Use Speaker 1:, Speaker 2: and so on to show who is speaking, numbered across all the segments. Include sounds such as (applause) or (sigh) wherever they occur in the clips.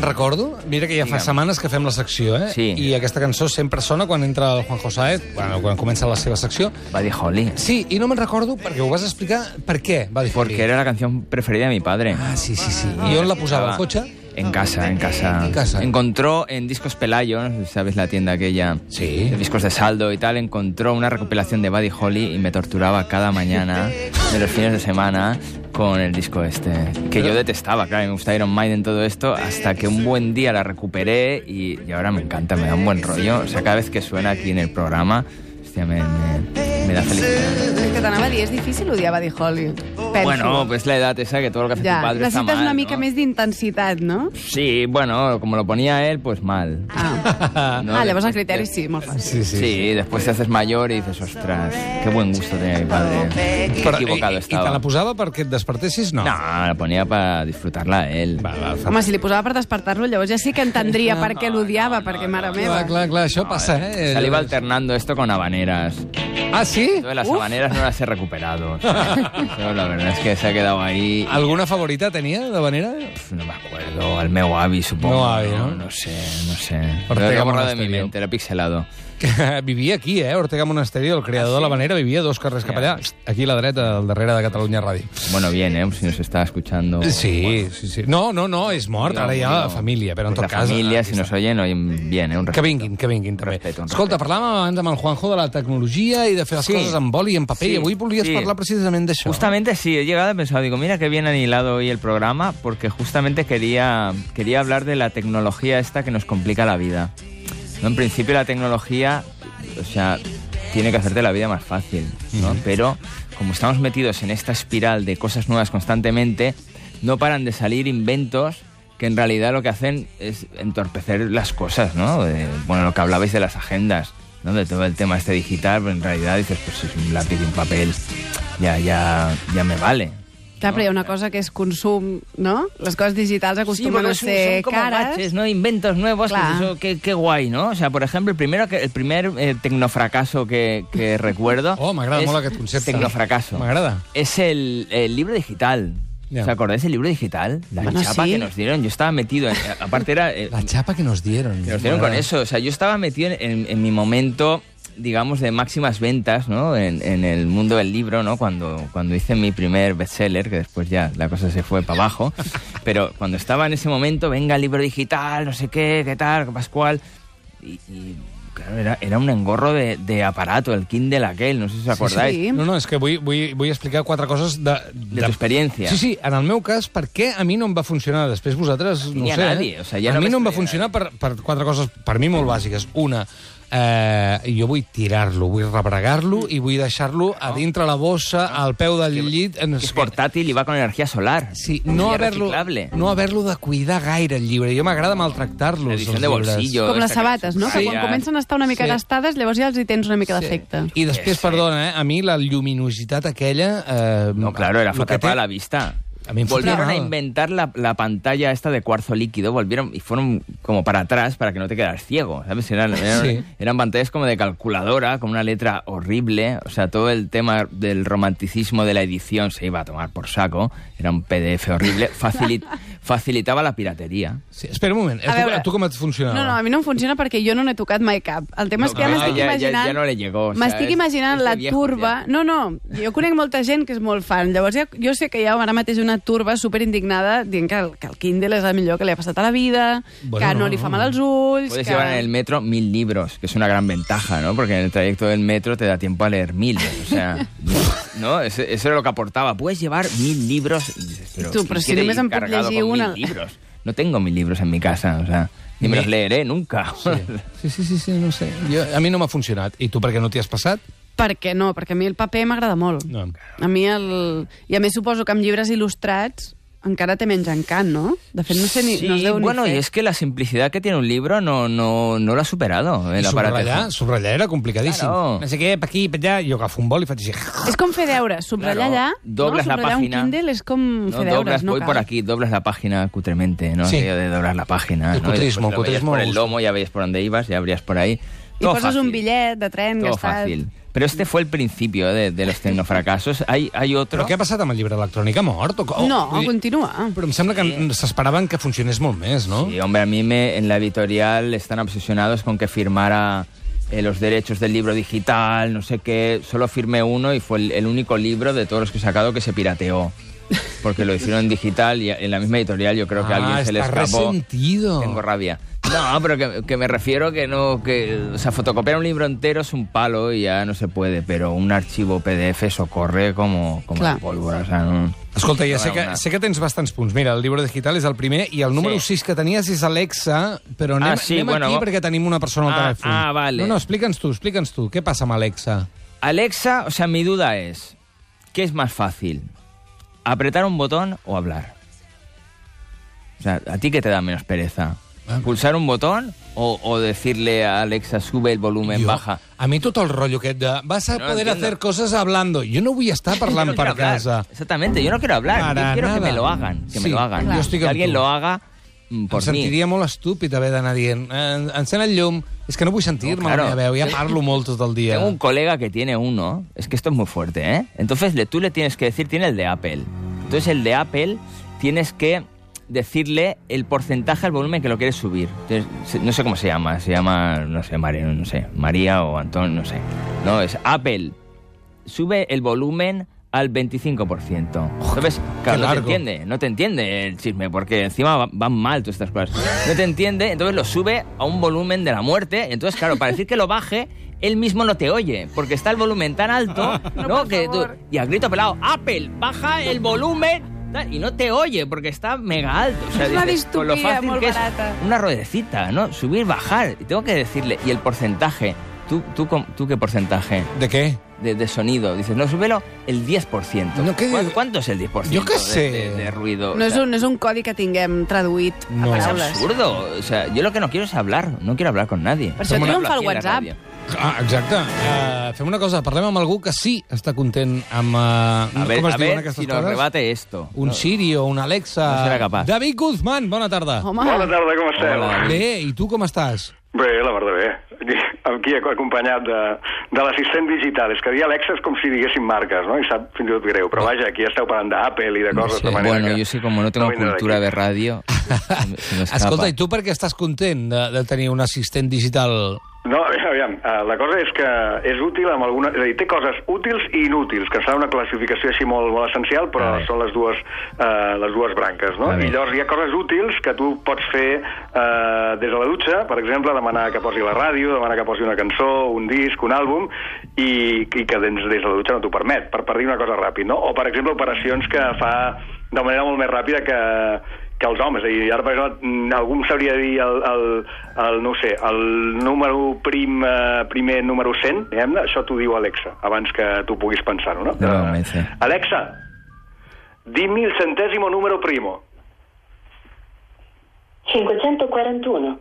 Speaker 1: recordo, mira que ja fa
Speaker 2: Digue'm.
Speaker 1: setmanes que fem la secció, eh?
Speaker 2: Sí.
Speaker 1: I aquesta cançó sempre sona quan entra el Juanjo Saez, bueno, quan comença la seva secció.
Speaker 2: Buddy Holly.
Speaker 1: Sí, i no me'n recordo perquè ho vas explicar per què va dir
Speaker 2: Porque era la canción preferida de mi padre.
Speaker 1: Ah, sí, sí, sí. I on la posava, al cotxe?
Speaker 2: En casa, en casa.
Speaker 1: En casa.
Speaker 2: Encontró en Discos Pelayo, no sé si ¿sabes la tienda aquella?
Speaker 1: Sí.
Speaker 2: De discos de saldo y tal. Encontró una recopilación de Buddy Holly y me torturaba cada mañana de los fines de semana con el disco este. Que yo detestaba, claro, me gustaba Iron Maiden, todo esto, hasta que un buen día la recuperé y, y ahora me encanta, me da un buen rollo. O sea, cada vez que suena aquí en el programa, hostia, me, me- me da felicidad.
Speaker 3: El que t'anava a dir, és difícil odiar Buddy Holly. Penso.
Speaker 2: Bueno, pues la edad esa que todo lo que hace
Speaker 3: ja.
Speaker 2: tu padre está
Speaker 3: Necessites
Speaker 2: mal.
Speaker 3: una
Speaker 2: ¿no?
Speaker 3: mica més d'intensitat, no?
Speaker 2: Sí, bueno, como lo ponía él, pues mal.
Speaker 3: Ah.
Speaker 2: (laughs) No,
Speaker 3: ah,
Speaker 2: después
Speaker 3: llavors el criteri
Speaker 2: te-
Speaker 3: sí, molt fàcil.
Speaker 1: Sí,
Speaker 2: Sí, después te haces mayor y dices, ostras, qué buen gusto tenía mi padre. Qué
Speaker 1: Però,
Speaker 2: equivocado
Speaker 1: i, I
Speaker 2: estaba.
Speaker 1: te la posava perquè et despertessis? No.
Speaker 2: No, la ponía para disfrutarla él.
Speaker 1: Va, va, fa...
Speaker 3: Home, si li posava per despertar-lo, llavors ja sí que
Speaker 2: (laughs)
Speaker 3: entendria per què l'odiava,
Speaker 2: no,
Speaker 3: perquè
Speaker 2: no,
Speaker 3: mare
Speaker 2: no,
Speaker 3: meva...
Speaker 1: clar, clar, clar, això
Speaker 2: No,
Speaker 1: passa, eh?
Speaker 2: eh, Se le iba alternando esto con habaneras.
Speaker 1: Ah, sí?
Speaker 2: Yo de las
Speaker 3: Uf.
Speaker 2: habaneras no las
Speaker 1: (laughs)
Speaker 2: he recuperado. o sea, pero la verdad es que se ha quedado ahí. y,
Speaker 1: Alguna favorita tenia, de manera? (laughs)
Speaker 2: pf, no me acuerdo. Al meu Avi, supongo.
Speaker 1: Meu avi, ¿no?
Speaker 2: No sé, no sé.
Speaker 1: Ortega
Speaker 2: Lo he borrado de mi
Speaker 1: Monasterio.
Speaker 2: mente, lo he pixelado.
Speaker 1: Que vivia aquí, eh? Ortega Monasterio, el creador
Speaker 2: Ah,
Speaker 1: de la manera, vivia dos carrers cap allà. Aquí a la dreta, al darrere de Catalunya Ràdio.
Speaker 2: Bueno, bien, ¿eh? Si nos está escuchando.
Speaker 1: Sí, sí, sí. No, no, no, és mort, ara hi ha la família, però en
Speaker 2: Pues
Speaker 1: tot
Speaker 2: la
Speaker 1: cas...
Speaker 2: familia,
Speaker 1: aquí
Speaker 2: si nos oyen, oyen bien, ¿eh? Un
Speaker 1: Que
Speaker 2: respeto.
Speaker 1: vinguin, que vinguin, també.
Speaker 2: Respecte, un
Speaker 1: Escolta,
Speaker 2: respecte.
Speaker 1: parlàvem abans amb el Juanjo de la tecnologia i de fer les
Speaker 2: Sí.
Speaker 1: coses amb boli i amb paper,
Speaker 2: Sí,
Speaker 1: i avui volies
Speaker 2: sí.
Speaker 1: parlar precisament d'això.
Speaker 2: Justamente sí, he llegado y he pensado, digo, mira qué bien anilado hoy el programa, porque justamente quería, quería hablar de la tecnología esta que nos complica la vida. ¿No? En principio la tecnología, o sea, tiene que hacerte la vida más fácil, ¿no? Pero como estamos metidos en esta espiral de cosas nuevas constantemente, no paran de salir inventos que en realidad lo que hacen es entorpecer las cosas, ¿no? De- bueno, lo que hablabais de las agendas, ¿no? De todo el tema este digital, pero en realidad dices, pues si es un lápiz y un papel, ya, ya, ya me vale.
Speaker 3: Clar, però hi ha una cosa que és consum, no? Les coses digitals acostumen a ser cares.
Speaker 2: baches, ¿no? Inventos nuevos, que
Speaker 3: Claro.
Speaker 2: dices, oh, qué, qué guay, ¿no? O sea, por ejemplo, el, primero que, el primer eh, tecnofracaso que,
Speaker 3: (laughs)
Speaker 2: que recuerdo...
Speaker 1: Oh, m'agrada
Speaker 2: es
Speaker 1: molt aquest concepte.
Speaker 2: Tecnofracaso.
Speaker 1: M'agrada.
Speaker 2: Es el, el libro digital.
Speaker 1: Ya.
Speaker 2: ¿Os acordáis del libro digital? La
Speaker 3: Bueno,
Speaker 2: chapa
Speaker 3: sí.
Speaker 2: que nos dieron. Yo estaba metido... en- aparte era... eh,
Speaker 1: La xapa que nos dieron.
Speaker 2: Que nos dieron con eso. O sea, yo estaba metido en, en- en mi momento, digamos, de máximas ventas, ¿no? En, en el mundo del libro, ¿no? Cuando, cuando hice mi primer bestseller, que después ya la cosa se fue para
Speaker 1: (laughs)
Speaker 2: abajo. Pero cuando estaba en ese momento, venga, el libro digital, no sé qué, qué tal, Pascual. Y. y, Claro, era, era un engorro de, de aparato, el Kindle aquel, no sé si os acordáis.
Speaker 3: sí.
Speaker 1: No, no, és que vull, vull, vull explicar quatre coses de...
Speaker 2: De tu experiència.
Speaker 1: Sí, sí, en el meu cas, per què a mi no em va funcionar? Després vosaltres, no
Speaker 2: Ni
Speaker 1: ho
Speaker 2: a
Speaker 1: sé,
Speaker 2: nadie,
Speaker 1: eh?
Speaker 2: o sea, ja
Speaker 1: a mi
Speaker 2: només
Speaker 1: no em va
Speaker 2: per-
Speaker 1: funcionar per, per quatre coses, per mi molt bàsiques. Una, eh, jo vull tirar-lo, vull rebregar-lo i vull deixar-lo a dintre la bossa, al peu del llit... En...
Speaker 2: Es portátil y va con energía solar.
Speaker 1: Sí,
Speaker 2: Y
Speaker 1: no
Speaker 2: es
Speaker 1: haver-lo
Speaker 2: reciclable.
Speaker 1: no haver de cuidar gaire el llibre. Jo m'agrada maltractar-lo.
Speaker 2: Edición de bolsillo.
Speaker 3: Com les
Speaker 2: esta que-
Speaker 3: sabates, no? Que
Speaker 2: Sí.
Speaker 3: quan comencen a estar una mica
Speaker 1: Sí.
Speaker 3: gastades, llavors ja els hi tens una mica d'efecte.
Speaker 1: I després,
Speaker 2: Sí, sí.
Speaker 1: perdona, eh, a mi la lluminositat aquella... Eh,
Speaker 2: No, claro, era
Speaker 1: el
Speaker 2: fatal
Speaker 1: que té-
Speaker 2: para la vista.
Speaker 1: A mí me
Speaker 2: volvieron
Speaker 1: flipaba.
Speaker 2: a inventar la, la pantalla esta de cuarzo líquido, volvieron y fueron como para atrás para que no te quedaras ciego, ¿sabes? Eran,
Speaker 1: (laughs)
Speaker 2: eran,
Speaker 1: Sí.
Speaker 2: eran pantallas como de calculadora, con una letra horrible, o sea, todo el tema del romanticismo de la edición se iba a tomar por saco, era un PDF horrible,
Speaker 1: (laughs)
Speaker 2: Facili- facilitaba la piratería.
Speaker 1: Sí, espera un moment, a, tu, a tu com et funcionava?
Speaker 3: No, no, a mi no em funciona perquè jo no n'he tocat mai cap. El tema
Speaker 2: No,
Speaker 3: és que ja
Speaker 2: clar,
Speaker 3: m'estic
Speaker 2: ja- ja-
Speaker 3: imaginant...
Speaker 2: ja no le llegó, o sea,
Speaker 3: M'estic
Speaker 2: és-
Speaker 3: imaginant
Speaker 2: és de
Speaker 3: la
Speaker 2: viejo,
Speaker 3: turba...
Speaker 2: ja.
Speaker 3: No, no, jo conec molta gent que és molt fan. Llavors ja, jo sé que hi ha ara mateix una turba superindignada dient que el, que el Kindle és el millor que li ha passat a la vida,
Speaker 1: Bueno,
Speaker 3: que
Speaker 1: no,
Speaker 3: no li fa
Speaker 1: no.
Speaker 3: mal als ulls...
Speaker 2: Puedes
Speaker 3: Pues que...
Speaker 2: llevar en el metro mil libros, que es una gran ventaja, ¿no? Porque en el trayecto del metro te da tiempo a leer mil. O
Speaker 3: (laughs)
Speaker 2: sea, ¿no? Eso, eso era lo que aportaba. Puedes llevar mil libros. Y dices, pero,
Speaker 3: Tú,
Speaker 2: ¿quién
Speaker 3: pero si
Speaker 2: quiere
Speaker 3: només
Speaker 2: ir
Speaker 3: em puc
Speaker 2: cargado
Speaker 3: llegir
Speaker 2: con
Speaker 3: una?
Speaker 2: Mil libros? No tengo mil libros en mi casa, o sea, ni me los
Speaker 1: Ni-
Speaker 2: leeré nunca. (laughs)
Speaker 1: Sí, sí, sí, sí no sé. Jo, a mi no m'ha funcionat. I tu per què no t'hi has passat?
Speaker 3: Per què no? Perquè a mi el paper m'agrada molt.
Speaker 1: No.
Speaker 3: A mi el... I a més suposo que amb llibres il·lustrats encara té menys encant, no? De fet, no sé ni... no es deu
Speaker 2: bueno,
Speaker 3: ni
Speaker 2: y
Speaker 3: fer.
Speaker 2: es que la simplicidad que tiene un libro no, no, no lo ha superado
Speaker 1: I
Speaker 2: el
Speaker 1: subratllar,
Speaker 2: aparatejo.
Speaker 1: subratllar era complicadíssim.
Speaker 2: eh. Claro.
Speaker 1: No sé què, per aquí, per allà... Jo agafo un bol i faig així.
Speaker 3: És com fer deures, subratllar
Speaker 2: Claro,
Speaker 3: allà,
Speaker 2: doblas
Speaker 3: no?
Speaker 2: la
Speaker 3: subratllar
Speaker 2: página.
Speaker 3: un Kindle és com
Speaker 2: No,
Speaker 3: fer deures,
Speaker 2: doblas,
Speaker 3: no
Speaker 2: voy
Speaker 3: cal.
Speaker 2: por aquí, doblas la página cutremente, ¿no?
Speaker 1: Sí.
Speaker 2: Aquello de doblar la página.
Speaker 1: El
Speaker 2: ¿no? Y
Speaker 1: cutrismo,
Speaker 2: después lo veías
Speaker 1: cutrismo
Speaker 2: por
Speaker 1: a
Speaker 2: el
Speaker 1: gusto.
Speaker 2: lomo, ya veías por dónde ibas, ya abrías por ahí.
Speaker 3: I
Speaker 2: Todo
Speaker 3: poses
Speaker 2: fácil.
Speaker 3: un bitllet de tren
Speaker 2: Todo
Speaker 3: gastat.
Speaker 2: fácil. Pero este fue el principio de, de los tecnofracasos. Hay, hay otro...
Speaker 1: Però què ha passat amb el llibre electrònic? Ha mort? O, o,
Speaker 3: No,
Speaker 1: vull dir-
Speaker 3: continua.
Speaker 1: Però em sembla que s'esperaven que funcionés molt més, no?
Speaker 2: Sí, hombre, a mí me, en la editorial están obsesionados con que firmara eh, los derechos del libro digital, no sé qué. Solo firmé uno y fue el, el único libro de todos los que he sacado que se pirateó. Porque lo hicieron en digital y a- en la misma editorial yo creo que a
Speaker 1: ah,
Speaker 2: alguien se le
Speaker 1: está
Speaker 2: escapó.
Speaker 1: resentido.
Speaker 2: Tengo rabia. No, pero que, que me refiero que no, que, o sea, fotocopiar un libro entero es un palo y ya no se puede, pero un archivo PDF socorre como, como la
Speaker 3: Claro.
Speaker 2: pólvora, o sea, no.
Speaker 1: Escolta, ja
Speaker 2: No,
Speaker 1: sé que,
Speaker 2: una.
Speaker 1: sé que tens bastants punts. Mira, el llibre digital és el primer i el número
Speaker 2: Sí.
Speaker 1: 6 que tenies és Alexa, però anem,
Speaker 2: Ah, sí,
Speaker 1: anem
Speaker 2: bueno,
Speaker 1: aquí
Speaker 2: vo-
Speaker 1: perquè tenim una persona al
Speaker 2: Ah,
Speaker 1: telèfon.
Speaker 2: ah, vale.
Speaker 1: No, no, explica'ns tu, explica'ns tu. Què passa amb Alexa?
Speaker 2: Alexa, o sea, mi duda es, ¿qué es más fácil? ¿Apretar un botón o hablar? O sea, ¿a ti qué te da menos pereza?
Speaker 1: Ah.
Speaker 2: ¿Pulsar un botón o, o decirle a Alexa sube el volumen, baja?
Speaker 1: A mi tot el rotllo aquest de vas a
Speaker 2: No
Speaker 1: poder
Speaker 2: entiendo.
Speaker 1: hacer cosas hablando. Jo no vull estar parlant
Speaker 2: Yo (laughs) no
Speaker 1: per
Speaker 2: quiero
Speaker 1: Ah,
Speaker 2: hablar.
Speaker 1: casa.
Speaker 2: Exactamente, yo no quiero hablar,
Speaker 1: Para
Speaker 2: yo quiero que
Speaker 1: nada.
Speaker 2: me lo hagan, que me
Speaker 1: Sí,
Speaker 2: lo hagan.
Speaker 1: yo estoy
Speaker 2: que
Speaker 1: con
Speaker 2: alguien
Speaker 1: tú.
Speaker 2: lo haga mm,
Speaker 1: Em
Speaker 2: por mí.
Speaker 1: sentiria molt estúpid haver d'anar dient eh, encén el llum, és que no vull sentir-me
Speaker 2: No, claro.
Speaker 1: la meva veu, ja parlo molt tot el dia.
Speaker 2: Tengo un colega que tiene uno, es que esto es muy fuerte, ¿eh? Entonces le, tú le tienes que decir, tiene el de Apple. Entonces el de Apple tienes que decirle el porcentaje al volumen que lo quieres subir. Entonces, se- no sé cómo se llama, se llama, no sé, María, no sé, María o Antón, no sé. No, es Apple, sube el volumen al 25%. Entonces, claro, no te
Speaker 1: largo.
Speaker 2: entiende, no te entiende el chisme, porque encima va- van mal todas estas cosas. No te entiende, entonces lo sube a un volumen de la muerte. Entonces, claro, para decir que lo baje, él mismo no te oye, porque está el volumen tan
Speaker 3: Ah.
Speaker 2: alto, ¿no? que tú- y al grito pelado, Apple, baja el volumen. tal, Y no te oye porque está mega alto. O sea,
Speaker 3: Es una
Speaker 2: dices, con lo
Speaker 3: distopía
Speaker 2: fácil
Speaker 3: muy
Speaker 2: que es
Speaker 3: barata.
Speaker 2: una ruedecita, ¿no? Subir, bajar. Y tengo que decirle, y el porcentaje. ¿Tú, tú, com- tú qué porcentaje?
Speaker 1: De què?
Speaker 2: de, de sonido. Dices, no, súbelo el 10%.
Speaker 1: No, ¿qué
Speaker 2: ¿Cuán-
Speaker 1: digo?
Speaker 2: ¿Cuánto, es el 10%
Speaker 1: Yo qué
Speaker 2: de-
Speaker 1: sé.
Speaker 2: De, de ruido?
Speaker 3: No
Speaker 2: O
Speaker 3: és,
Speaker 2: sea,
Speaker 3: un, no és un codi que tinguem traduït
Speaker 1: No.
Speaker 3: a
Speaker 2: es
Speaker 3: paraules.
Speaker 2: absurdo. O sea, yo lo que no quiero es hablar. No quiero hablar con nadie.
Speaker 3: Per això
Speaker 2: Hablo
Speaker 3: triomfa el
Speaker 2: aquí en la
Speaker 3: WhatsApp.
Speaker 2: radio.
Speaker 1: Ah, exacte. Uh, fem una cosa, parlem amb algú que sí està content amb... Uh,
Speaker 2: A ver,
Speaker 1: com es diuen
Speaker 2: a ver
Speaker 1: aquestes
Speaker 2: si nos
Speaker 1: coses?
Speaker 2: rebate esto.
Speaker 1: Un
Speaker 2: No.
Speaker 1: Siri o un Alexa...
Speaker 2: No serà capaç.
Speaker 1: David Guzmán, bona tarda.
Speaker 3: Home,
Speaker 4: Bona tarda, com esteu?
Speaker 2: Hola.
Speaker 1: Bé, i tu com estàs?
Speaker 4: Bé, la veritat, bé. Aquí acompanyat de, de l'assistent digital. És que dir Alexa és com si diguéssim marques, no? I sap fins i tot greu. Però vaja, aquí esteu parlant d'Apple i de coses
Speaker 1: sé.
Speaker 4: de manera
Speaker 2: Bueno,
Speaker 4: que...
Speaker 2: yo sí, como no tengo
Speaker 4: vindrà
Speaker 2: cultura
Speaker 4: d'aquí.
Speaker 1: (laughs)
Speaker 2: de radio. se me- se me escapa.
Speaker 1: Escolta, i tu per què estàs content de, de tenir un assistent digital?
Speaker 4: No, (laughs) aviam, aviam, eh, la cosa és que és útil amb alguna... És a dir, té coses útils i inútils, que serà una classificació així molt, molt essencial, però
Speaker 2: A veure.
Speaker 4: són les dues, eh, les dues branques, no?
Speaker 2: A veure.
Speaker 4: I llavors hi ha coses útils que tu pots fer eh, des de la dutxa, per exemple, demanar que posi la ràdio, demanar que posi una cançó, un disc, un àlbum, i, i que des, des de la dutxa no t'ho permet, per, per dir una cosa ràpid, no? O, per exemple, operacions que fa de manera molt més ràpida que, que els homes. És a dir, ara, per exemple, mm, algú em sabria dir el, el, el, no ho sé, el número prim, eh, primer número 100, diguem-ne, això t'ho diu Alexa, abans que tu puguis pensar-ho, no?
Speaker 2: De moment, sí.
Speaker 4: Alexa, dimmi il centesimo numero primo.
Speaker 5: 541.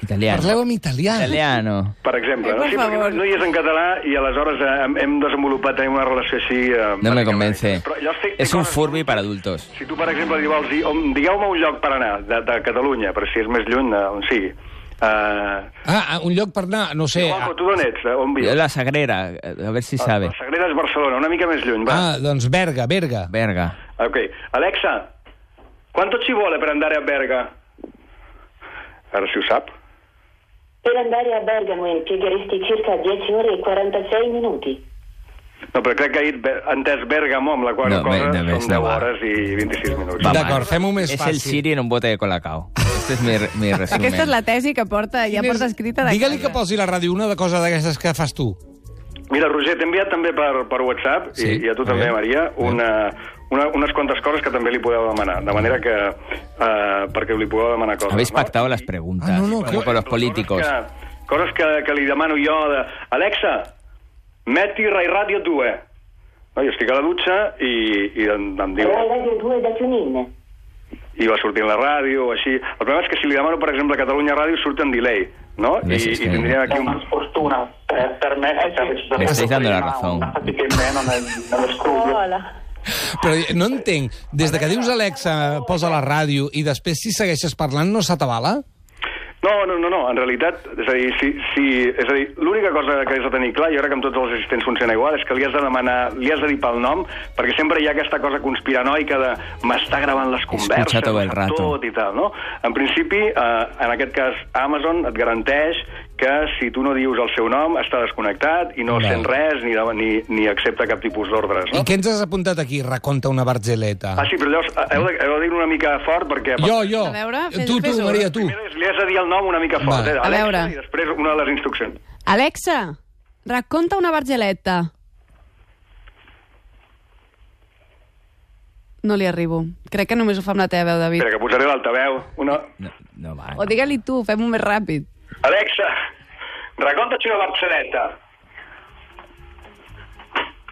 Speaker 2: Italiano.
Speaker 1: Parleu en italià.
Speaker 2: Italiano.
Speaker 4: Per
Speaker 3: Ai,
Speaker 4: exemple, no?
Speaker 3: per
Speaker 4: Sí, perquè no,
Speaker 3: favor.
Speaker 4: no hi és en català i aleshores eh, hem, hem desenvolupat tenim una relació així... Eh,
Speaker 2: No me
Speaker 4: bàsicament.
Speaker 2: convence.
Speaker 4: Però llavors té- té
Speaker 2: Es un
Speaker 4: coses-
Speaker 2: Furby para adultos.
Speaker 4: Si tu, per exemple, li vols dir, on, digueu-me un lloc per anar, de, de Catalunya, per si és més lluny, eh, on sigui. Uh,
Speaker 1: Ah, ah, un lloc per anar, no sé...
Speaker 4: Juanjo, tu d'on ets? Eh, On vius?
Speaker 2: La Sagrera, a ver si sabe.
Speaker 4: La Sagrera és Barcelona, una mica més lluny, va.
Speaker 1: Ah, doncs Berga, Berga.
Speaker 2: Verga.
Speaker 4: Ok. Alexa, quanto ci vuole per andare a Berga? Ara si ho sap.
Speaker 5: Per andare a Bergamo impiegheresti circa 10 ore e 46 minuti.
Speaker 4: No, però crec que ha dit Be- ha entès Bergamo, amb la qual
Speaker 2: No,
Speaker 4: cosa
Speaker 2: bé, de més,
Speaker 4: són
Speaker 2: no
Speaker 4: 10
Speaker 2: va.
Speaker 4: hores i 26 minuts.
Speaker 2: Va mal.
Speaker 1: D'acord, fem-ho més
Speaker 2: es
Speaker 1: fàcil.
Speaker 2: el Siri en un bote de colacao. Este es mi, re-
Speaker 3: (laughs)
Speaker 2: mi resumen.
Speaker 3: Aquesta és la tesi que porta, ja porta escrita de
Speaker 1: Digue-li que
Speaker 3: casa.
Speaker 1: posi la ràdio una de cosa d'aquestes que fas tu.
Speaker 4: Mira, Roger, t'he enviat també per, per WhatsApp,
Speaker 1: Sí,
Speaker 4: i, i a tu
Speaker 1: molt
Speaker 4: també,
Speaker 1: bé.
Speaker 4: Maria, una, una, unes quantes coses que també li podeu demanar, de manera que... Eh, perquè li podeu demanar coses.
Speaker 2: Habéis
Speaker 4: no?
Speaker 2: pactado las preguntas,
Speaker 1: Ah, no, no,
Speaker 2: como
Speaker 1: que-
Speaker 2: con los políticos.
Speaker 4: Coses, que, coses que, que li demano jo de... Alexa, metti Rai Radio 2. No, jo estic a la dutxa i, i em, em diu...
Speaker 5: Rai Radio 2 da TuneIn.
Speaker 4: I va sortint la ràdio, així... El problema és que si li demano, per exemple, Catalunya Ràdio, surt en delay, no? I,
Speaker 2: Yes,
Speaker 4: i
Speaker 2: yes, yes.
Speaker 4: tindríem aquí
Speaker 6: una
Speaker 4: un...
Speaker 6: sfortuna per, per me che ci
Speaker 2: Mi stai dando la ragione.
Speaker 6: una fatica in meno nel, nello studio
Speaker 1: Però no entenc, des de que dius Alexa posa la ràdio i després si segueixes parlant no s'atabala?
Speaker 4: No, no, no, no, en realitat, és a dir, si, si, és a dir l'única cosa que has de tenir clar, i ara que amb tots els assistents funciona igual, és que li has de demanar, li has de dir pel nom, perquè sempre hi ha aquesta cosa conspiranoica de m'està gravant les converses,
Speaker 2: Escucha todo el rato.
Speaker 4: tot i tal, no? En principi, eh, en aquest cas, Amazon et garanteix que si tu no dius el seu nom, està desconnectat i no
Speaker 1: Val.
Speaker 4: sent res ni, dema- ni, ni accepta cap tipus d'ordres,
Speaker 1: I
Speaker 4: no?
Speaker 1: què ens has apuntat aquí? Raconta una barzeleta.
Speaker 4: Ah, sí, però llavors eh, heu de, heu de dir una mica fort perquè...
Speaker 1: Jo, jo.
Speaker 3: A veure, fes-
Speaker 1: tu, tu,
Speaker 3: fes-ho.
Speaker 1: Maria, tu.
Speaker 4: Primer és- li has de dir el nom una mica
Speaker 1: Va.
Speaker 4: fort, eh?
Speaker 1: A
Speaker 4: Alexa,
Speaker 3: veure.
Speaker 4: I després una de les instruccions.
Speaker 3: Alexa, raconta una bargeleta. No li arribo. Crec que només ho fa amb la teva veu, David.
Speaker 4: Espera, que posaré l'altaveu. Una...
Speaker 2: No, no va.
Speaker 3: O
Speaker 2: no.
Speaker 3: digue-li tu, fem-ho més ràpid.
Speaker 4: Alexa, raccontaci una barzelletta.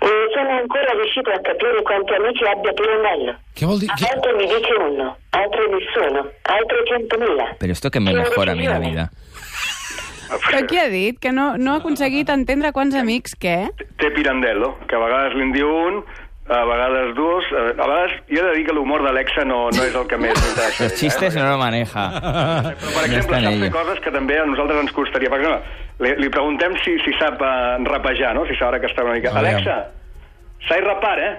Speaker 5: Non sono ancora riuscito a capire quanti amici abbia Pirandello.
Speaker 1: Què vol dir?
Speaker 5: A
Speaker 1: Què?
Speaker 5: volte mi dice uno, altre nessuno, altre centomila.
Speaker 2: Pero esto que me mejora a mí la vida.
Speaker 3: Però qui ha dit que no, no ha aconseguit entendre quants amics, què?
Speaker 4: Té Pirandello, que a vegades li'n diu un, a vegades dos, a a vegades... Jo he de dir que l'humor d'Alexa no, no és el que més m'interessa. Eh?
Speaker 2: Los chistes no lo
Speaker 1: (laughs)
Speaker 2: maneja.
Speaker 4: Però,
Speaker 2: no
Speaker 4: per exemple,
Speaker 2: estan
Speaker 4: sap fer
Speaker 2: ellos.
Speaker 4: coses que també a nosaltres ens costaria. Per exemple, li, li preguntem si, si sap eh, rapejar, no? Si sabrà que està una
Speaker 1: A
Speaker 4: mica...
Speaker 1: veure.
Speaker 4: Alexa, sai rapar, eh?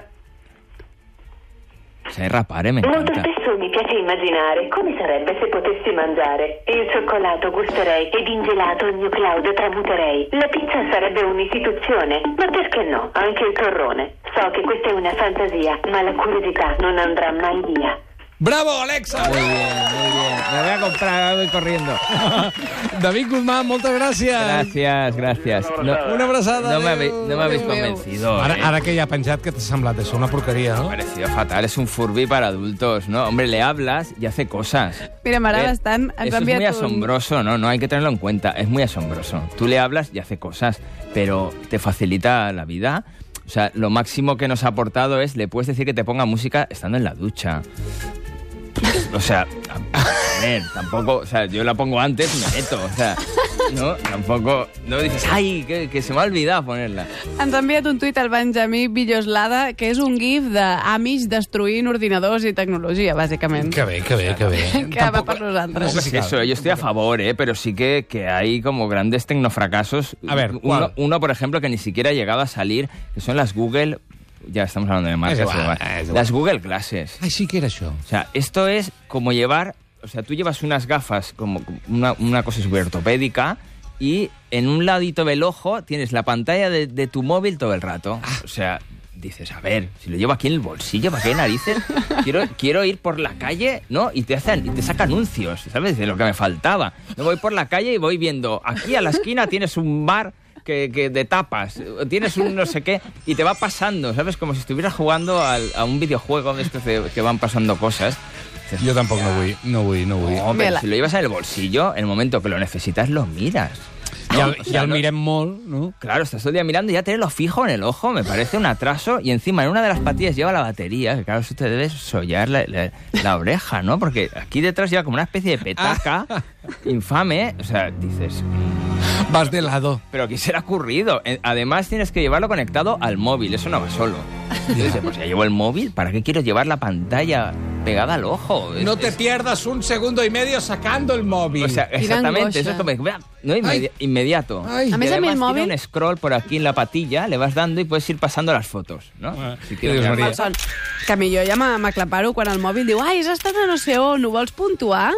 Speaker 2: Sai rapare, me
Speaker 5: Molto
Speaker 2: encanta.
Speaker 5: spesso mi piace immaginare come sarebbe se potessi mangiare. Il cioccolato gusterei ed in gelato il mio Claudio tramuterei. La pizza sarebbe un'istituzione, ma perché no? Anche il torrone. So che questa è una fantasia, ma la curiosità non andrà mai via.
Speaker 1: Bravo, Alexa!
Speaker 2: Muy bien, muy bien. Me voy a comprar, voy
Speaker 1: (laughs)
Speaker 2: corriendo.
Speaker 1: David Guzmán, moltes gràcies.
Speaker 2: Gracias, gracias. No,
Speaker 1: Una abraçada,
Speaker 2: no
Speaker 1: adeu.
Speaker 2: me, habéis, no me habéis
Speaker 3: Adeu.
Speaker 2: convencido.
Speaker 1: Ara,
Speaker 2: eh.
Speaker 1: ara que ja ha penjat, que t'ha semblat això? Una porqueria,
Speaker 2: Me ha
Speaker 1: no?
Speaker 2: parecido fatal, es un furby para adultos, ¿no? Hombre, le hablas y hace cosas.
Speaker 3: Mira, m'agrada
Speaker 2: Ver,
Speaker 3: bastant. Ens
Speaker 2: Eso
Speaker 3: ha
Speaker 2: es muy
Speaker 3: enviat un...
Speaker 2: asombroso, ¿no? No hay que tenerlo en cuenta. Es muy asombroso. Tú le hablas y hace cosas, pero te facilita la vida. O sea, lo máximo que nos ha aportado es le puedes decir que te ponga música estando en la ducha. O sea, a a ver, tampoco, o sea, yo la pongo antes, me meto, o sea, no, tampoco, no dices, ay, que, que se me ha olvidado ponerla.
Speaker 3: Ens ha enviat un tuit al Benjamí Villoslada, que és un gif d'amics destruint ordinadors i tecnologia, bàsicament.
Speaker 1: Que bé, que bé, que bé.
Speaker 3: Que va per
Speaker 1: Tampoc
Speaker 3: nosaltres.
Speaker 2: Pues
Speaker 1: és que-
Speaker 2: eso, yo estoy a favor, ¿eh? pero sí que, que hay como grandes tecnofracasos.
Speaker 1: A ver, ¿cuál?
Speaker 2: uno, uno, por ejemplo, que ni siquiera ha llegado a salir, que son las Google. Ya estamos hablando de marcas.
Speaker 1: Es igual,
Speaker 2: da igual.
Speaker 1: es igual.
Speaker 2: las Google Glasses.
Speaker 1: Ai, sí que era això.
Speaker 2: O sea, esto es como llevar. O sea, tú llevas unas gafas, como una, una cosa súper ortopédica, y en un ladito del ojo tienes la pantalla de, de tu móvil todo el rato. O sea, dices, a ver, si lo llevo aquí en el bolsillo, ¿para qué narices? Quiero, quiero ir por la calle, ¿no? Y te, hacen, y te saca anuncios, ¿sabes? De lo que me faltaba. No voy por la calle y voy viendo, aquí a la esquina tienes un bar. Que, que de tapas, tienes un no sé qué y te va pasando, ¿sabes? Como si estuvieras jugando al- a un videojuego de estos de- que van pasando cosas. Dices,
Speaker 1: Jo tampoc no vull, no vull, no vull.
Speaker 2: no,
Speaker 3: Mira,
Speaker 2: pero
Speaker 3: la-
Speaker 2: si lo llevas en el bolsillo, en el momento que lo necesitas, lo miras.
Speaker 1: I el,
Speaker 2: O
Speaker 1: i
Speaker 2: sea,
Speaker 1: el
Speaker 2: no-
Speaker 1: mirem molt, no?
Speaker 2: Claro, estás todo el día mirando y ya tenerlo fijo en el ojo me parece un atraso. Y encima en una de las patillas lleva la batería, que claro, eso te debes sollar la, la- la oreja, ¿no? Porque aquí detrás lleva como una especie de petaca infame. O sea, dices,
Speaker 1: Vas de lado.
Speaker 2: pero ¿qué será ocurrido? Eh, Además tienes que llevarlo conectado al móvil, eso no
Speaker 1: (laughs)
Speaker 2: va solo. Yo dices, pues ya llevo el móvil, ¿para qué quiero llevar la pantalla pegada al ojo? Es-
Speaker 1: No te
Speaker 2: es-
Speaker 1: pierdas un segundo y medio sacando el móvil.
Speaker 2: O sea, exactamente,
Speaker 3: angoixa.
Speaker 2: eso es como que, no
Speaker 1: Ay.
Speaker 2: Inmedi- inmediato.
Speaker 1: Ay.
Speaker 3: A més,
Speaker 2: Y
Speaker 3: a mi el
Speaker 2: además
Speaker 3: mòbil...
Speaker 2: Tiene un scroll por aquí en la patilla, le vas dando y puedes ir pasando las fotos, ¿no?
Speaker 1: Ah,
Speaker 2: Si
Speaker 1: ¿qué
Speaker 2: quieres
Speaker 1: dius,
Speaker 2: ver-
Speaker 1: María?
Speaker 3: Mal son. Que millor ja m'a- m'aclaparo quan el mòbil diu «Ai, has estat a no sé on, ho vols puntuar?»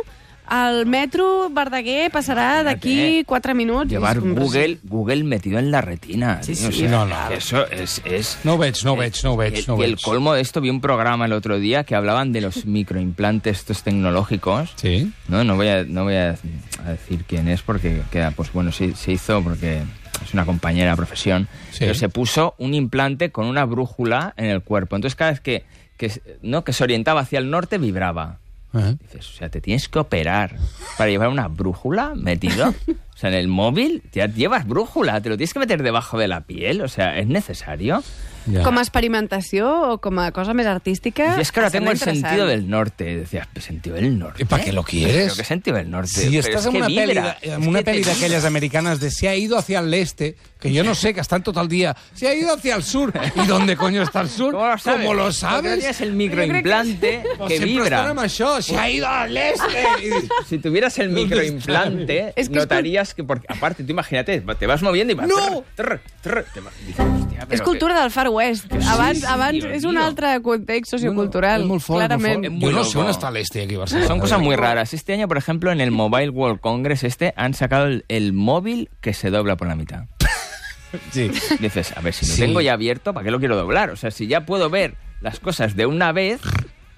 Speaker 3: El metro Verdaguer passará d'aquí
Speaker 1: eh?
Speaker 3: 4 minuts.
Speaker 2: Llevar
Speaker 3: És com-
Speaker 2: Google, Google metido en la retina.
Speaker 3: Sí,
Speaker 2: tío, o
Speaker 3: sí.
Speaker 2: sea,
Speaker 1: No, no.
Speaker 2: Eso es... es
Speaker 1: No ho veig, no ho veig, no ho veig,
Speaker 2: el-
Speaker 1: no ho
Speaker 2: y el
Speaker 1: veig.
Speaker 2: colmo de esto, vi un programa el otro día que hablaban de los microimplantes estos tecnológicos.
Speaker 1: Sí.
Speaker 2: No, no voy a, no voy a, a decir quién es porque queda, pues bueno, se, se hizo porque es una compañera de profesión,
Speaker 1: Sí.
Speaker 2: pero se puso un implante con una brújula en el cuerpo. Entonces cada vez que, que, s- ¿no? que se orientaba hacia el norte vibraba.
Speaker 1: Eh?
Speaker 2: Dices, o sea, te tienes que operar para llevar una brújula metido O sea, en el móvil ya llevas brújula, te lo tienes que meter debajo de la piel, o sea, ¿es necesario?
Speaker 1: Ja.
Speaker 3: Com a experimentació o com a cosa més artística...
Speaker 2: Yo es que ahora
Speaker 3: em
Speaker 2: tengo el
Speaker 3: sembla interessant.
Speaker 2: sentido del norte. Decías, "¿Pues ¿sentido del norte?
Speaker 1: ¿Y para qué lo quieres?
Speaker 2: Pero ¿Qué sentido del norte?
Speaker 1: Si
Speaker 2: Pero
Speaker 1: estás
Speaker 2: es
Speaker 1: en
Speaker 2: que
Speaker 1: una peli,
Speaker 2: vibra,
Speaker 1: de,
Speaker 2: es
Speaker 1: en una
Speaker 2: que te
Speaker 1: peli de
Speaker 2: vibra.
Speaker 1: aquellas americanas de se ha ido hacia el este, que yo no sé, que están todo el día, se ha ido hacia el sur. ¿Y dónde coño está el sur?
Speaker 2: (laughs) ¿Cómo lo sabes?
Speaker 1: ¿Cómo lo
Speaker 2: Porque
Speaker 1: sabes?
Speaker 2: tienes el microimplante
Speaker 1: Pues
Speaker 2: que
Speaker 1: siempre
Speaker 2: vibra.
Speaker 1: estan amb això, se ha ido al este. I dius,
Speaker 2: Si tuvieras (laughs) el microimplante,
Speaker 3: Es que es
Speaker 2: notarías que... Porque, aparte, tú imagínate, te vas moviendo y vas...
Speaker 1: No.
Speaker 2: trr, trr, trr, te vas- dices, "Hostia,
Speaker 3: És
Speaker 2: pero
Speaker 3: cultura del Far West.
Speaker 2: sí,
Speaker 3: Abans,
Speaker 2: sí,
Speaker 3: abans
Speaker 2: Dios
Speaker 3: és un
Speaker 2: mío.
Speaker 3: altre context sociocultural,
Speaker 1: és molt fort,
Speaker 3: clarament.
Speaker 1: Molt fort.
Speaker 2: Muy
Speaker 1: Jo no
Speaker 2: loco.
Speaker 1: sé on està l'este aquí a
Speaker 2: que-".
Speaker 1: Barcelona.
Speaker 2: Son cosas muy raras. Este año, por ejemplo, en el Mobile World Congress este, han sacado el, el móvil que se dobla por la mitad.
Speaker 1: Sí.
Speaker 2: Dices, a ver, si lo
Speaker 1: Sí.
Speaker 2: tengo ya abierto, ¿para qué lo quiero doblar? O sea, si ya puedo ver las cosas de una vez,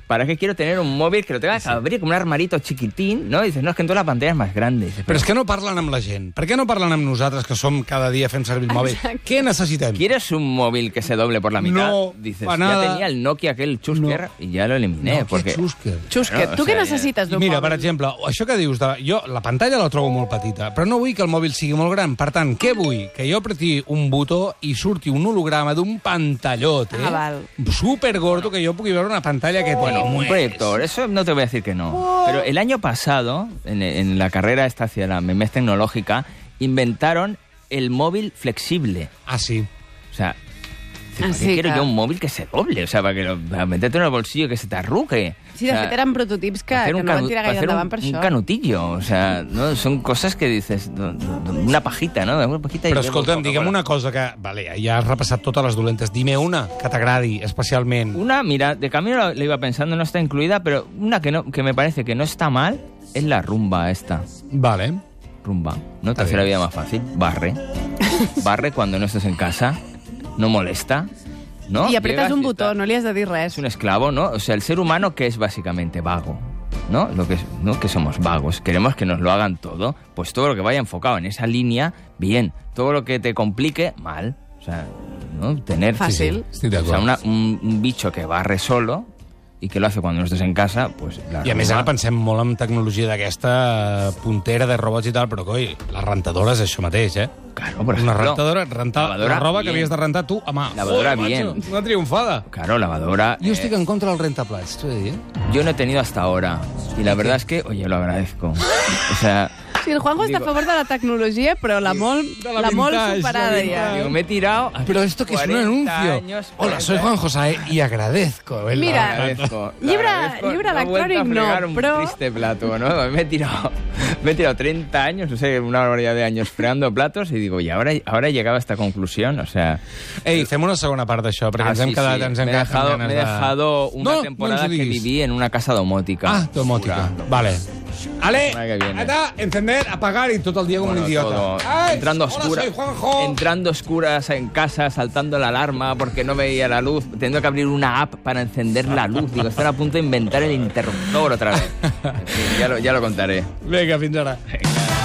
Speaker 2: ¿para qué quiero tener un móvil que lo tenga que abrir como un armarito chiquitín? ¿No? Y dices, no, es que en todas las pantallas más grandes.
Speaker 1: Però és que no parlen amb la gent. Per què no parlen amb nosaltres, que som cada dia fent servir el mòbil?
Speaker 3: Exacte.
Speaker 1: Què necessitem?
Speaker 2: Mm. ¿Quieres un móvil que se doble por la mitad?
Speaker 1: No,
Speaker 2: dices,
Speaker 1: pa'
Speaker 2: ya
Speaker 1: nada.
Speaker 2: tenía el Nokia aquel Chusker
Speaker 1: No.
Speaker 2: y ya lo eliminé.
Speaker 1: Nokia
Speaker 2: eh, porque...
Speaker 1: Chusker.
Speaker 3: Xusca,
Speaker 2: No,
Speaker 3: tu
Speaker 2: o
Speaker 3: què
Speaker 2: sea,
Speaker 3: necessites
Speaker 1: I
Speaker 3: d'un
Speaker 1: mira, per
Speaker 3: mòbil?
Speaker 1: exemple, això que dius, de, jo la pantalla la trobo molt petita, però no vull que el mòbil sigui molt gran. Per tant, què vull? Que jo apreti un botó i surti un holograma d'un pantallot, eh?
Speaker 3: Ah, val.
Speaker 1: Supergordo, que jo pugui veure una pantalla que
Speaker 2: Bueno,
Speaker 1: té.
Speaker 2: un proyector, eso no te voy a decir que no.
Speaker 1: Oh.
Speaker 2: Pero el año pasado, en, en la carrera esta hacia la MEMES tecnológica, inventaron el móvil flexible.
Speaker 1: Ah, sí.
Speaker 2: O sea, ¿para
Speaker 3: Ah,
Speaker 2: qué
Speaker 3: sí,
Speaker 2: quiero
Speaker 3: claro.
Speaker 2: yo un móvil que se doble? O sea, para que lo, para meterte en el bolsillo, que se te arruque.
Speaker 3: Sí,
Speaker 2: O
Speaker 3: de
Speaker 2: sea,
Speaker 3: fet, eren prototips que,
Speaker 2: para hacer
Speaker 3: que
Speaker 2: Eh, un
Speaker 3: no van
Speaker 2: canu-
Speaker 3: tirar
Speaker 2: para
Speaker 3: gaire
Speaker 2: hacer un-
Speaker 3: endavant per
Speaker 2: un
Speaker 3: això.
Speaker 2: canutillo, o sea, ¿no? son cosas que dices, do- do- do- una pajita, ¿no? Una pajita y
Speaker 1: Però
Speaker 2: luego
Speaker 1: escolta'm,
Speaker 2: Coca-Cola.
Speaker 1: digue'm una cosa que... Vale, ja has repassat totes les dolentes. Dime una que t'agradi especialment.
Speaker 2: Una, mira, de camino la- la iba pensando, no está incluida, pero una que, no, que me parece que no está mal es la rumba esta.
Speaker 1: Vale.
Speaker 2: Rumba. No
Speaker 1: Está
Speaker 2: te hace la
Speaker 1: bien.
Speaker 2: vida más fácil.
Speaker 3: (laughs)
Speaker 2: Barre. Barre cuando no estás en casa. No molesta. ¿No?
Speaker 3: I apretes
Speaker 2: Llegas
Speaker 3: un
Speaker 2: y
Speaker 3: botó,
Speaker 2: está-
Speaker 3: no li has de dir res.
Speaker 2: Es un esclavo, ¿no? O sea, el ser humano que es básicamente vago. ¿No? Lo que es- no que somos vagos, queremos que nos lo hagan todo, pues todo lo que vaya enfocado en esa línea, bien. Todo lo que te complique, mal. O sea, ¿no? tener
Speaker 3: Fàcil.
Speaker 1: Estic
Speaker 2: o sea,
Speaker 1: d'acord.
Speaker 2: una- un, un bicho que barre solo y que lo hace cuando no estés en casa, pues la
Speaker 1: I a més
Speaker 2: rumba-
Speaker 1: ara pensem molt en tecnologia d'aquesta eh, puntera de robots i tal, però coi, la rentadora és això mateix, eh?
Speaker 2: Claro, por
Speaker 1: Una
Speaker 2: ejemplo.
Speaker 1: rentadora, rentar
Speaker 2: Lavadora,
Speaker 1: la roba
Speaker 2: bien.
Speaker 1: que havies de rentar tu a mà.
Speaker 2: Lavadora,
Speaker 1: Joder, macho,
Speaker 2: bien.
Speaker 1: Una triomfada.
Speaker 2: Claro, lavadora.
Speaker 1: Jo
Speaker 2: eh,
Speaker 1: estic en contra del rentaplats, t'ho he de dir. eh?
Speaker 2: yo no he tenido hasta ahora. Y la verdad es que, oye, lo agradezco. (laughs) O sea,
Speaker 3: Sí, el Juanjo està a favor de la tecnologia, però la molt,
Speaker 1: De la
Speaker 3: la molt
Speaker 1: vintage,
Speaker 3: superada
Speaker 1: la
Speaker 3: ja.
Speaker 1: vintage.
Speaker 2: digo, me he tirado. a
Speaker 1: Pero esto que es un
Speaker 2: 40
Speaker 1: anuncio.
Speaker 2: años,
Speaker 1: Hola,
Speaker 2: 40
Speaker 1: soy Juan José y agradezco. el-
Speaker 3: Mira,
Speaker 2: Agradezco, lo
Speaker 3: Llibre-
Speaker 2: agradezco.
Speaker 3: llibre
Speaker 2: No he vuelto a
Speaker 3: electrònic no,
Speaker 2: fregar un
Speaker 3: però-
Speaker 2: triste plato, ¿no? Me he tirado, me he tirado 30 años, no sé, una barbaridad de años fregando platos y digo, y ahora, ahora he llegado a esta conclusión, o sea...
Speaker 1: Ei, fem una segona part d'això, perquè
Speaker 2: Ah,
Speaker 1: ens hem
Speaker 2: sí,
Speaker 1: quedat...
Speaker 2: sí.
Speaker 1: Ens hem
Speaker 2: me he
Speaker 1: quedat amb
Speaker 2: dejado,
Speaker 1: ganes
Speaker 2: me he
Speaker 1: de-
Speaker 2: dejado una
Speaker 1: no,
Speaker 2: temporada
Speaker 1: no ens ho
Speaker 2: que
Speaker 1: diguis.
Speaker 2: viví en una casa domótica.
Speaker 1: Ah, domótica.
Speaker 2: Oscura.
Speaker 1: Vale. Ale,
Speaker 2: Semana que viene.
Speaker 1: ata, encender, apagar y todo el día como
Speaker 2: Bueno,
Speaker 1: un idiota.
Speaker 2: todo.
Speaker 1: Ay,
Speaker 2: entrando
Speaker 1: hola,
Speaker 2: oscura,
Speaker 1: soy Juanjo.
Speaker 2: entrando oscuras en casa, saltando la alarma porque no veía la luz, teniendo que abrir una app para encender la luz. Digo, están
Speaker 1: (laughs)
Speaker 2: a punto de inventar el interruptor otra vez. En fin, ya lo- ya lo contaré.
Speaker 1: Vinga, fins ara.
Speaker 2: Venga.